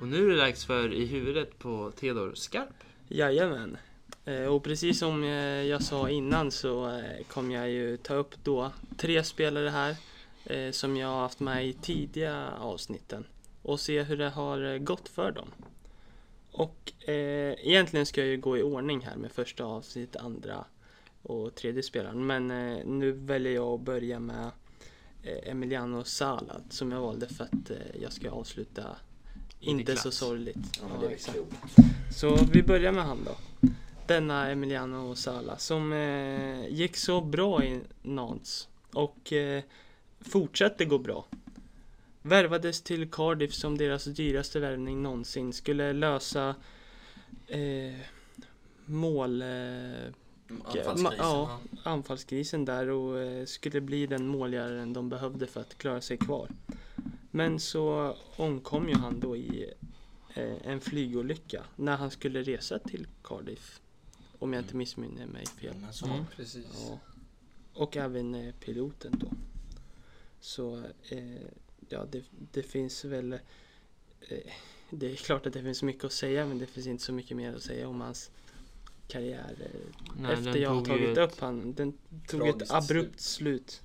Och nu är det dags för I huvudet på Theodor Skarp. Jajamän. Eh, Och precis som eh, jag sa innan så eh, kommer jag ju ta upp då tre spelare här eh, som jag har haft med i tidiga avsnitten och se hur det har eh, gått för dem. Och eh, egentligen ska jag ju gå i ordning här med första avsnitt, andra och tredje spelaren. Men eh, nu väljer jag att börja med eh, Emiliano Salad som jag valde för att eh, jag ska avsluta inte så klass. sorgligt. Ja, men det är Ja, väl exakt. klokt. Så vi börjar med han då. Denna Emiliano Sala som eh, gick så bra i Nantes och eh, fortsatte gå bra. Värvades till Cardiff som deras dyraste värvning någonsin. Skulle lösa eh, mål... Eh, Anfallskrisen. ja, anfallskrisen där och eh, skulle bli den målgöraren de behövde för att klara sig kvar. Men så omkom ju han då i eh, en flygolycka när han skulle resa till Cardiff. Om jag inte missminner mig fel. Men så, Mm. precis. Ja. Och även eh, piloten då. Så eh, ja, det, det finns väl... Eh, det är klart att det finns mycket att säga men det finns inte så mycket mer att säga om hans karriär eh, Nej, efter den jag har tog ju tagit ett- upp han. Den tog ett Tragiskt abrupt slut.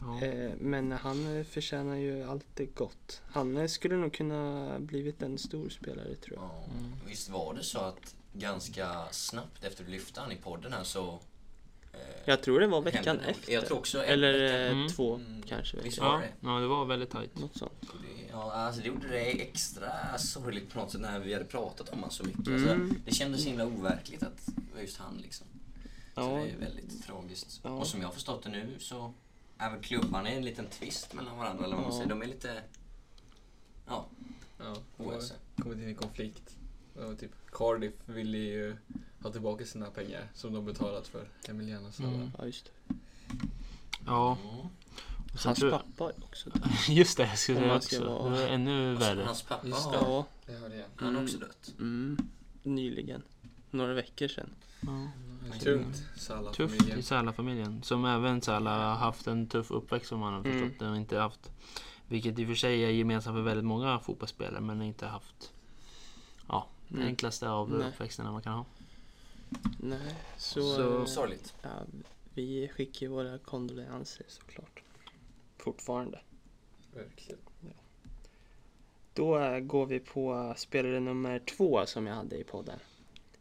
Ja. Eh, men han eh, förtjänar ju allt det gott. Han eh, skulle nog kunna blivit en stor spelare tror jag. Ja. Mm. Visst var det så att ganska snabbt efter du lyfte han i podden här så... eh, Jag tror det var hände veckan något. efter. Jag tror också en Eller vecka. eh, Mm. två Mm. kanske. Visst var Ja, det? ja, det var väldigt tajt. Något sånt. Det- Ja, alltså det gjorde det extra sorgligt på något sätt när vi hade pratat om honom så mycket. Mm. Alltså, det kändes så himla overkligt att det var just han liksom. Så Ja. det är väldigt tragiskt. Ja. Och som jag har förstått det nu så är väl klubbarna i en liten twist mellan varandra eller vad man Ja. säger. De är lite... Ja, Ja, de har oense. kommit in i konflikt. Och typ Cardiff ville ju ha tillbaka sina pengar som de betalat för Emiliano Sala. Mm. Ja, just det. Ja, Mm. och sen Hans tror- pappa är också där. Just det, jag skulle Om säga man ska också. vara- Det var ännu Och så värre. Alltså, Hans pappa Just har, det. Ja. Det hörde jag. han har också dött. Mm. Nyligen. Några veckor sedan. Ja. Det är Tungt, Tufft Sala-familjen. i Sala-familjen. Som även Sala har haft en tuff uppväxt som han har Mm. förstått det och inte haft. Vilket i och för sig är gemensamt för väldigt många fotbollsspelare men inte haft ja, den Mm. enklaste av Nej. uppväxterna man kan ha. Nej, så... Så- eh, Sorgligt. Ja, vi skickar ju våra kondolenser såklart. Fortfarande. Verkligen. Då eh, går vi på spelare nummer två som jag hade i podden.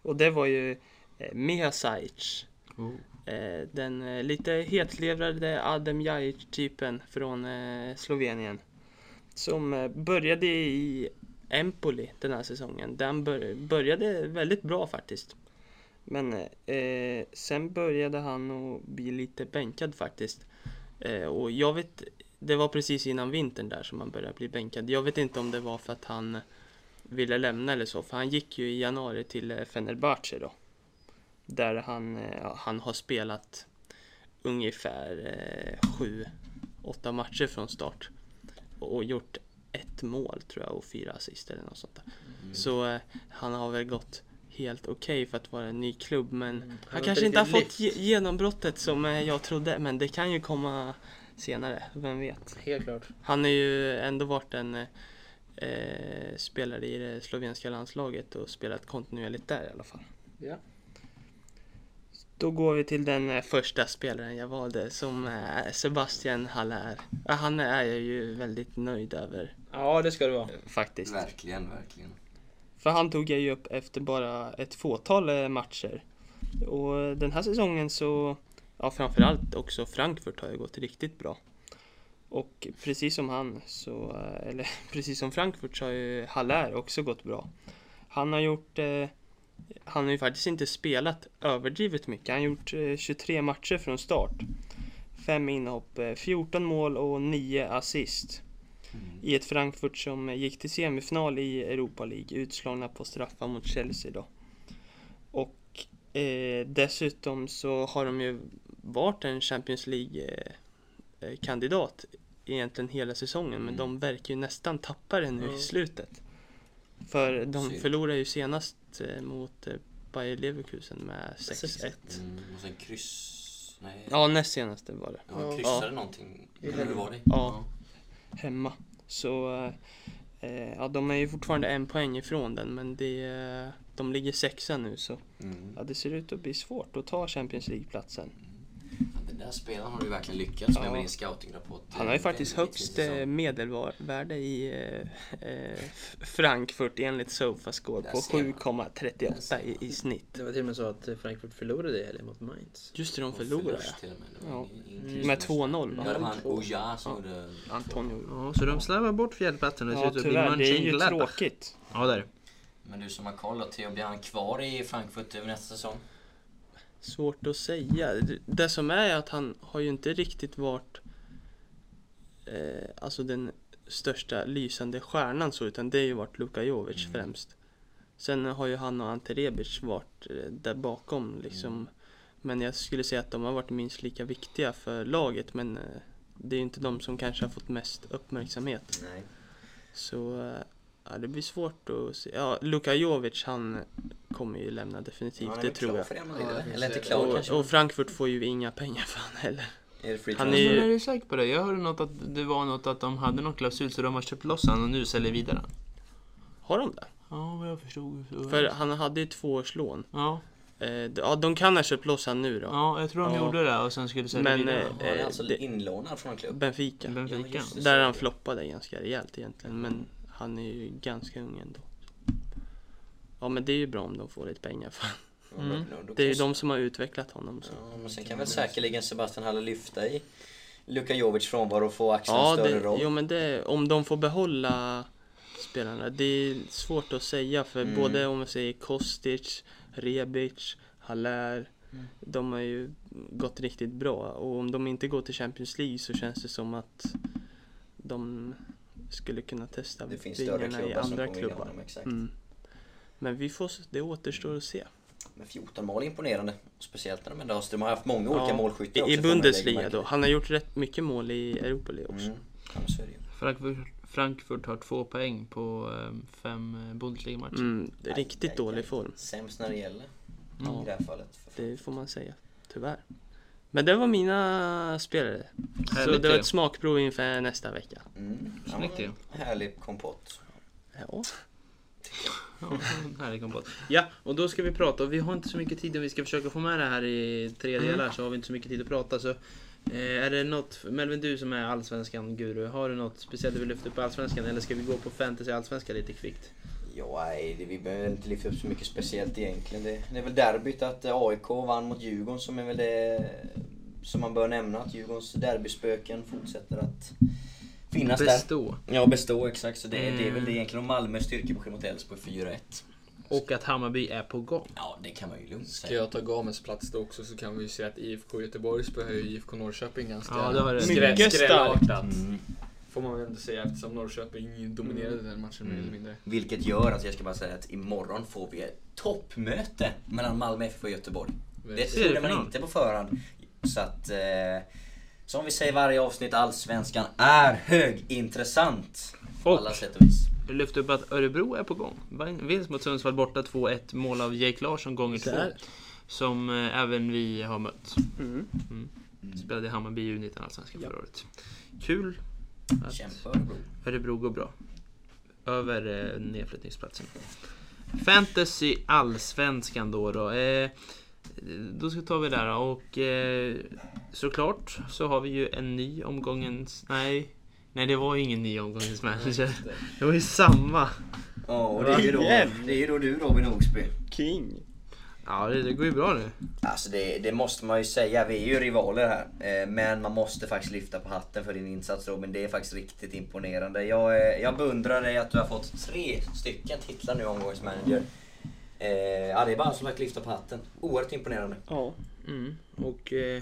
Och det var ju eh, Miha Sajic. Oh. Eh, den eh, lite hetlevrade Adem Jajic-typen från eh, Slovenien. Som eh, började i Empoli den här säsongen. Den bör- började väldigt bra faktiskt. Men eh, sen började han att bli lite bänkad faktiskt. Eh, och jag vet, det var precis innan vintern där som han började bli bänkad. Jag vet inte om det var för att han ville lämna eller så. För han gick ju i januari till eh, Fenerbahce då. Där han, eh, ja, han har spelat ungefär eh, sju, åtta matcher från start. Och och gjort ett mål tror jag och fyra assist eller något sånt där. Så eh, han har väl gått helt okej för att vara en ny klubb men han, har kanske inte inte har riktigt fått ge- genombrottet som eh, jag trodde men det kan ju komma senare, vem vet. Helt klart. Han har ju ändå varit en eh, eh, spelare i det slovenska landslaget och spelat kontinuerligt där i alla fall. Ja. Då går vi till den eh, första spelaren jag valde som är Sebastian Haller. Ja, Han är jag ju väldigt nöjd över Ja, det ska det vara. eh, faktiskt. Verkligen, verkligen. För han tog jag ju upp efter bara ett fåtal eh, matcher. Och den här säsongen så, ja framförallt också Frankfurt har ju gått riktigt bra. Och precis som han, så, eh, eller precis som Frankfurt så har ju Haller också gått bra. Han har gjort, eh, han har ju faktiskt inte spelat överdrivet mycket. Han har gjort eh, 23 matcher från start. Fem inhopp, eh, 14 mål och 9 assist i ett Frankfurt som gick till semifinal i Europa League, utslagna på straffar mot Chelsea då. Och eh, dessutom så har de ju varit en Champions League-kandidat egentligen hela säsongen, men Mm. de verkar ju nästan tappa det nu Ja. i slutet. För de Synd. förlorade ju senast eh, mot eh, Bayer Leverkusen med 6-1. Mm. Och sen kryss... Nej. Ja, näst senaste var det. Ja, Ja. kryssade någonting. Eller hur var det? Ja. hemma. Så eh, Eh, ja, de är ju fortfarande en poäng ifrån den, men det, är- de ligger sexa nu så Mm. ja, det ser ut att bli svårt att ta Champions League-platsen. Fan, Den där spelaren har ju verkligen lyckats med Ja. med din scoutingrapport. Han har ju faktiskt Väldigt högst tidig säsong. eh, medelvärde i eh, eh, Frankfurt enligt Sofascore Där på ser man. 7,38 i, i snitt. Det var till och med så att Frankfurt förlorade i helgen mot Mainz. Just det, de Och förlorade. förlust till och med. Det var Ja. ingen- ingen Mm. kris. Med 2-0 Ja, det var va? han Oja som gjorde... Antonio. Ja, så de slarvar bort fjärdeplatsen. Det ser Ja ut att bli tyvärr, det är ju Mönchengladbach. tråkigt. Ja, där. Men du som har koll, Theo, blir han kvar i Frankfurt över nästa säsong? Svårt att säga. Det som är är att han har ju inte riktigt varit eh, alltså den största lysande stjärnan så utan det har ju varit Luka Jovic Mm. främst. Sen har ju han och Ante Rebic varit eh, där bakom Mm. liksom. Men jag skulle säga att de har varit minst lika viktiga för laget men eh, det är ju inte de som kanske har fått mest uppmärksamhet. Nej. Så eh, ja, det blir svårt att se. Ja, Luka Jovic han kommer ju lämna definitivt, det tror jag. För det, Ja, eller? det eller inte finns klar det. kanske? Och, och Frankfurt får ju inga pengar för han heller. är det free han Men är ju- är du säker på det? Jag hörde något att det var något att de hade någon klausul så de har köpt loss han och nu säljer vidare han. Har de det? Ja, vad jag förstod. så- För han hade ju tvåårslån. Ja, Eh, d- ja, de kan ha köpt loss han nu då. ja, jag tror de Ja. gjorde det och sen skulle sälja Men, vidare. eh, transfer? Han är alltså det- inlånad från en klubb. Benfica. Benfica. just det. Mm. Där han floppade ganska rejält egentligen. Men han är ju ganska ung ändå. Ja men det är ju bra om de får lite pengar för han. Mm. Då- då Det är ju kanske- de som har utvecklat honom. Så. Ja, men sen kan väl säkerligen Sebastian Haller lyfta i Luka Jovic frånvaro och få axla Ja, en liksom större det, roll. jo, men det, om de får behålla spelarna. Det är svårt att säga för Mm. både om vi säger Kostic, Rebic, Haller. De har ju gått riktigt bra och om de inte går till Champions League så känns det som att de skulle kunna testa det finns större vingarna i klubbar som andra kommer vilja ha klubbar. honom, exakt. Mm. Men vi får, s- det återstår att se. Men 14 mål är imponerande. Speciellt när de ändå har, de har haft många olika Ja, målskyttar I, också, I får man lägga Bundesliga märke då. Han har gjort rätt mycket mål i Europa League till. också. Mm. Ja, men så är det ju. Frankfurt, Frankfurt har två poäng på eh, fem eh, Bundesliga-matcher. Mm, Aj, riktigt aj, dålig aj. form. Sämst när det gäller Ja. i det här fallet. Det får man säga, tyvärr. Men det var mina spelare. Så Härligt det var ju. ett smakprov inför nästa vecka. Mm. Ja, Snyggt ju. Härlig kompott. Ja. Ja, här är kompott. Ja, och då ska vi prata. Vi har inte så mycket tid om vi ska försöka få med det här i tre Mm. delar så har vi inte så mycket tid att prata. Så, eh, är det något, Melvin du som är allsvenskan-guru, har du något speciellt du vill lyfta upp i allsvenskan eller ska vi gå på fantasy allsvenskan lite kvickt? Ja, nej, det- vi behöver inte lyfta upp så mycket speciellt egentligen. Det, det är väl derbyt att eh, AIK vann mot Djurgården som är väl det som man bör nämna. Att Djurgårdens derbyspöken fortsätter att finnas där. Bestå. Ja, bestå exakt. Så det, det är väl Mm. det egentligen. Och Malmös styrkebesked mot Elfsborg 4-1. Och att Hammarby är på gång. Ja, det kan man ju lugnt Ska säga. jag ta Gamens plats då också så kan vi ju se att IFK Göteborg spöar ju IFK Norrköping ganska Ja, det har du rätt i. skräll- Mycket starkt. skrällartat. Mm. Får man väl ändå säga eftersom Norrköping dominerade den matchen mer eller Mm. mindre. Vilket gör att jag ska bara säga att imorgon får vi ett toppmöte mellan Malmö FF och Göteborg. Det Verkligen. trodde man Seriefinal. inte på förhand. Så att... Eh, som vi säger i varje avsnitt, Allsvenskan är högintressant. På Och- alla sätt och vis. Du lyfte upp att Örebro är på gång. Vinst mot Sundsvall borta 2-1, mål av Jake Larsson gånger två. Där. Som eh, även vi har mött. Mm. Spelade i Hammarby i U19 Allsvenskan förra året. Kul att Kämpa Örebro. Örebro går bra. Över eh, nedflyttningsplatsen. Fantasy Allsvenskan då. Då, eh, då ska ta vi där då. och eh, såklart så har vi ju en ny omgångens... Nej, nej det var ju ingen ny omgångens manager. Det var ju samma. Ja, och det är ju då, det är ju då du Robin Oxby. King. Ja, det, det går ju bra nu. Alltså det, det måste man ju säga, vi är ju rivaler här. Eh, Men man måste faktiskt lyfta på hatten för din insats Robin. Det är faktiskt riktigt imponerande. Jag, eh, jag beundrar dig att du har fått tre stycken titlar nu omgångens manager. Eh, Ja, det är bara som att lyfta på hatten. Oerhört imponerande. Ja. Mm, och... Eh,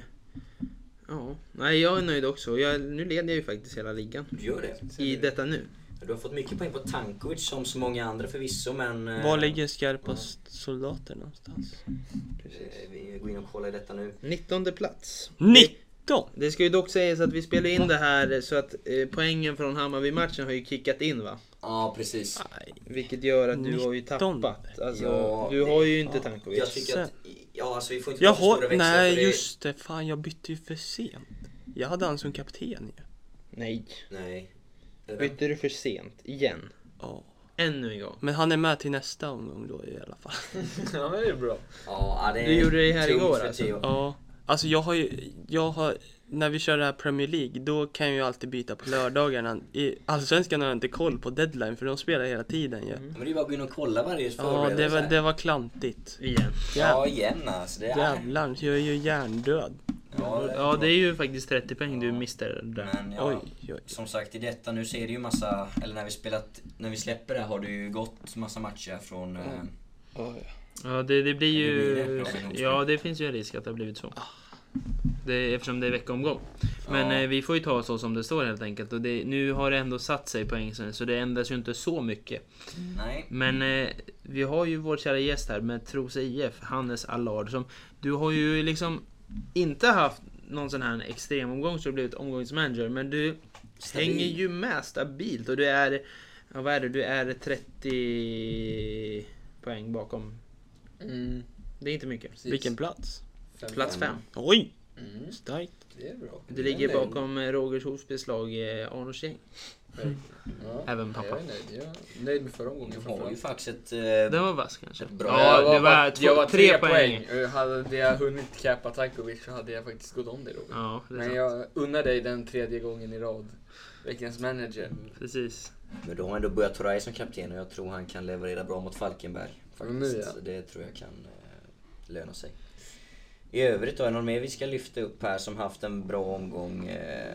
ja, nej jag är nöjd också. Jag, nu leder jag ju faktiskt hela ligan. Du gör det. I detta nu. Du har fått mycket poäng på Tankovic som så många andra förvisso men... eh, Var ligger skarpast soldater någonstans? eh, Vi går in och kollar i detta nu. 19 plats. 19! Det ska ju dock sägas att vi spelar in det här så att eh, poängen från Hammarby-matchen har ju kickat in va? Ja precis. Vilket gör att du har ju 19. tappat. Alltså, Ja, du det- har ju inte ja, Tankovic. Jag tycker att... Ja alltså vi får inte Jag dra för stora har, växlar, för nej det- just det, fan jag bytte ju för sent. Jag hade han som kapten ju. Nej. Nej. Eller vem? Bytte du för sent? Igen? Ja. Ännu en gång. Men han är med till nästa omgång då i alla fall. ja men det är bra. Ja, det är Du gjorde det här tungt igår, för alltså. Theo. Ja, alltså jag har ju, jag har, när vi kör det här Premier League, då kan jag ju alltid byta på lördagarna. I Allsvenskan har jag inte koll på deadline, för de spelar hela tiden ju. Men det är ju bara att gå in och kolla varje Ja, det var, förberedelse. det var klantigt. Igen. Ja, igen alltså. Det är... Jävlar, jag är ju hjärndöd. Ja, det är Ja, det är ju faktiskt 30 poäng du mister där. Men ja, Oj, oj. som sagt i detta nu ser det ju massa, eller när vi spelat, när vi släpper det här har det ju gått massa matcher från... eh, oj. Ja, det, det blir Det blir ju... det, bra nog. Ja, det finns ju en risk att det har blivit så. Det, är- eftersom det är veckomgång. Men Ah. Ja. eh, vi får ju ta så som det står helt enkelt. Och det, nu har det ändå satt sig poäng så det ändras ju inte så mycket. Nej. Men eh, vi har ju vår kära gäst här med Trosa IF, Hannes Allard. Som, du har ju liksom inte haft någon sån här extremomgång så du blivit omgångsmanager. Men du Stabil. hänger ju med stabilt och du är, ja, vad är det, du är 30 poäng bakom. Mm, Det är inte mycket. precis. Vilken plats? Fem. Plats 5. Oj, Mm, starkt. det är bra. Du ligger Jag är nöjd. bakom eh, Rogers Hosbys lag eh, Arnors gäng. Ja, Även pappa. Jag är nöjd. Jag är nöjd med förra omgången Du har ju framförallt. faktiskt ett... eh, Den var vass kanske. Ett bra- Ja, Jag det var, bara- två, jag var tre, poäng. Och Hade jag hunnit cappa Tankovic så hade jag faktiskt gått om dig Robin. Ja, det är Men sant. jag unnar dig den tredje gången i rad. Veckans manager. Precis. Men då har ändå börjat Toray som kapten och jag tror han kan leverera bra mot Falkenberg. Mm, nu, Faktiskt. ja. Det tror jag kan eh, löna sig. I övrigt då, är det någon mer vi ska lyfta upp här som haft en bra omgång? Eh,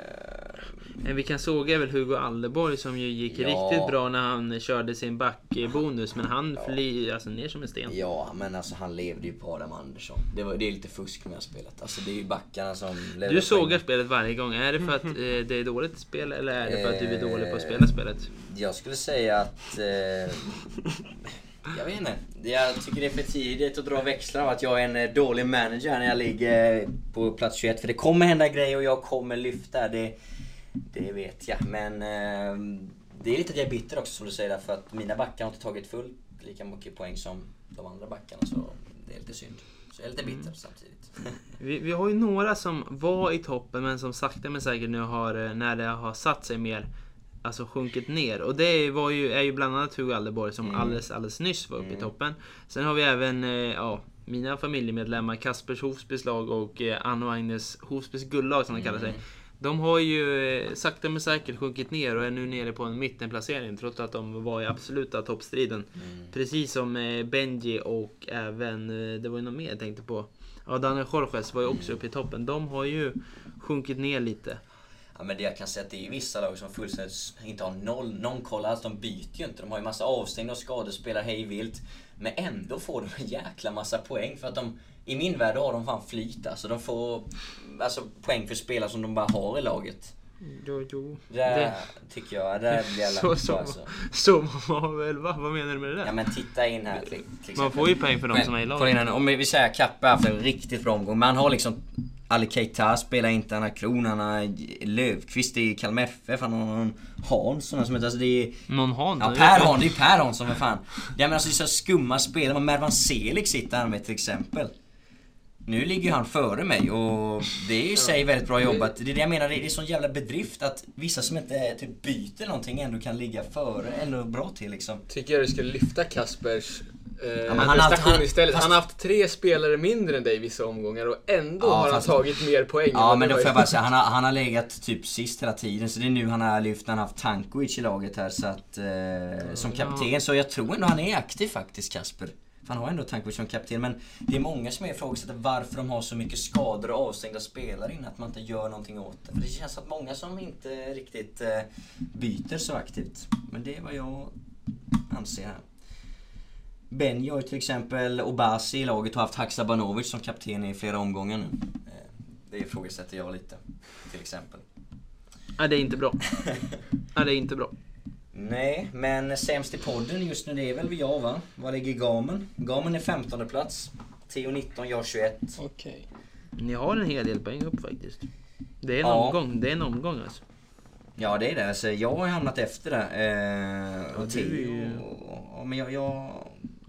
Men vi kan såga väl Hugo Alleborg som ju gick Ja. riktigt bra när han körde sin backbonus. Men han flyr alltså ner som en sten. ja, men alltså han levde ju på Adam Andersson. Det, var, det är lite fusk med det här spelet. Alltså det är ju backarna som levererar Du sågar poäng. spelet varje gång. Är det för att eh, det är dåligt spel eller är det för att du är dålig på att Eh, spela spelet? Jag skulle säga att... Eh, jag vet inte. Jag tycker det är för tidigt att dra växlar av att jag är en eh, dålig manager när jag ligger på plats 21. För det kommer hända grejer och jag kommer lyfta. Det, det vet jag. Men eh, det är lite att jag är bitter också som du säger. För att mina backar har inte tagit fullt lika mycket poäng som de andra backarna. Så det är lite synd. Så jag är lite bitter samtidigt. Vi, vi har ju några som var i toppen men som sakta men säkert nu har, eh, när det har satt sig mer, alltså sjunkit ner. Och det var ju, är ju bland annat Hugo Alleborg som alldeles, alldeles nyss var uppe i toppen. Sen har vi även, eh, ja, mina familjemedlemmar Kaspers Hofsbys lag och eh, Anna och Agnes Hofsbys guldlag som de kallar sig. De har ju eh, sakta men säkert sjunkit ner och är nu nere på en mittenplacering trots att de var i absoluta toppstriden. Precis som eh, Benji och även, eh, det var ju något mer jag tänkte på. Ja, Daniel Jorges var ju också uppe i toppen. De har ju sjunkit ner lite. Ja, men det jag kan säga att det är vissa lag som fullständigt inte har noll, någon koll alls. De byter ju inte. De har ju massa avstängda och skadespelare hej vilt. Men ändå får de en jäkla massa poäng för att de, i min värld har de fan flyt alltså. De får alltså, poäng för spelare som de bara har i laget. Jo, jo. Det, där tycker jag, där blir jag lack Så, på så, alltså. så man väl va? Vad menar du med det Ja där? men titta in här till, till Man exempel. får ju poäng för de Men, som är i kolla in laget. här nu. Om vi säger Kappe har haft en riktigt bra omgång. Man har liksom Ali Keita spelar inte, han har Kron, han har Löfqvist i Kalmar FF, han har någon Hansson här som heter... Alltså det är... Någon har Ja, inte. Per Hansson, det är Per Hansson för fan. Ja men alltså det är så skumma spelare. Men Mervan Selig sitter här med till exempel. Nu ligger ju han före mig och det är ju i sig väldigt bra jobbat. Det är det jag menar, det är en sån jävla bedrift att vissa som inte typ byter någonting ändå kan ligga före, eller bra till liksom. Tycker jag du ska lyfta Kaspers eh, men han har haft- prestation han- istället. fast- Han har haft tre spelare mindre än dig vissa omgångar och ändå Ja, har han fast- tagit mer poäng. än Ja vad men du då har får jag gjort. bara säga, han har, han har legat typ sist hela tiden så det är nu han har lyft, han har haft Tankovic i laget här så att, eh, som kapten. Så jag tror ändå han är aktiv faktiskt Kasper. För han har ändå Tankovic som kapten men det är många som ifrågasätter varför de har så mycket skador och avstängda spelare innan att man inte gör någonting åt det. För det känns att många som inte riktigt eh, byter så aktivt. Men det är vad jag anser här. Benji har ju till exempel Obasi i laget och haft Haksabanovic som kapten i flera omgångar nu. Eh, Det ifrågasätter jag lite, till exempel. Ja, det är inte bra. Ja, det är inte bra. Nej, men sämst i podden just nu det är väl jag va? Var ligger Gamen? Gamen är 15 plats. 10 19, jag 21. Okej. Ni har en hel del poäng upp faktiskt. Det är en Ja. omgång. Det är en omgång alltså. Ja det är det, alltså, jag har ju hamnat efter där. Eh, och du är ju- Theo och- och- men jag, jag...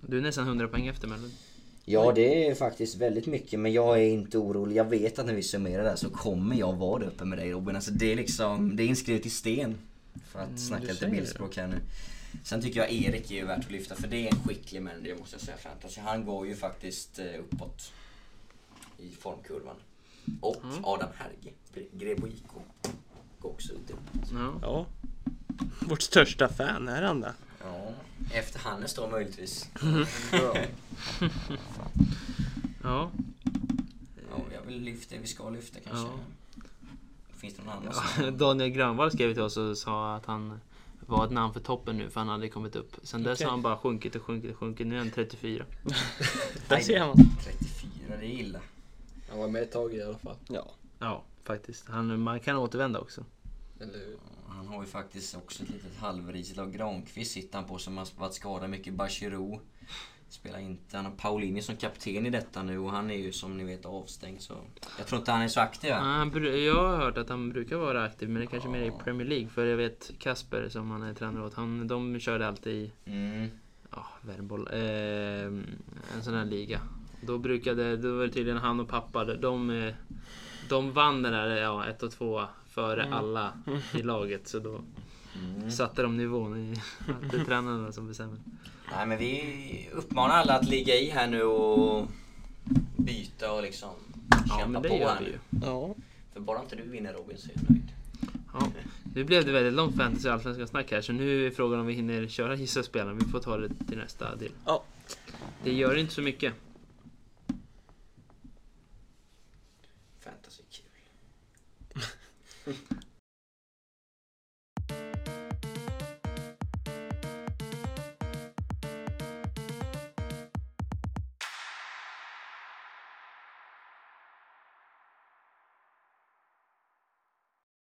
Du är nästan 100 poäng efter Mellon. Ja det är faktiskt väldigt mycket men jag är inte orolig. Jag vet att när vi summerar det här så kommer jag vara där uppe med dig Robin. Alltså det är liksom, det är inskrivet i sten. För att snacka Mm, du lite säger det. bildspråk här nu. Sen tycker jag Erik är ju värt att lyfta för det är en skicklig manager måste jag säga Fantasy. Han går ju faktiskt eh, uppåt i formkurvan. Och Mm. Adam Herge, Gre- Grebo IK, går också lite uppåt. Ja. Ja. Vårt största fan är han då. Ja, efter Hannes då möjligtvis. ja. Ja, jag vill lyfta, vi ska lyfta kanske. Finns det någon annan Ja, som... Daniel Grönvall skrev till oss och sa att han var ett namn för toppen nu för han hade kommit upp. Sen dess Okej. har han bara sjunkit och sjunkit och sjunkit. Nu är han 34. Där Aj. ser man. 34, det är illa. Han var med ett tag i alla fall. Ja. Ja, faktiskt. Han, man kan återvända också. Eller hur? Han har ju faktiskt också ett litet halvrisigt lag. Granqvist sitter han på som har varit skadad mycket. Bachirou spelar inte. Han har Paulini som kapten i detta nu och han är ju som ni vet avstängd så... Jag tror inte han är så aktiv Ja, här. Han, bru- jag har hört att han brukar vara aktiv, men det kanske mer i Premier League. För jag vet Kasper som han är tränare åt, han, de körde alltid i Mm. ja, värmboll, eh, en sån här liga. Då brukade, då var det tydligen han och pappa, de, eh, de vann den här ja, ett och två före alla i laget. Så då satte de nivån i att det är tränarna som bestämmer. Nej men vi uppmanar alla att ligga i här nu och byta och liksom Ja, kämpa men det på gör här vi ju. nu. Ja. För bara inte du vinner Robin så är jag nöjd. Ja. Nu blev det väldigt långt fantasy och allsvenska snack här, så nu är frågan om vi hinner köra gissa och spela. Vi får ta det till nästa del. Ja. Det gör inte så mycket. Fantasy kul.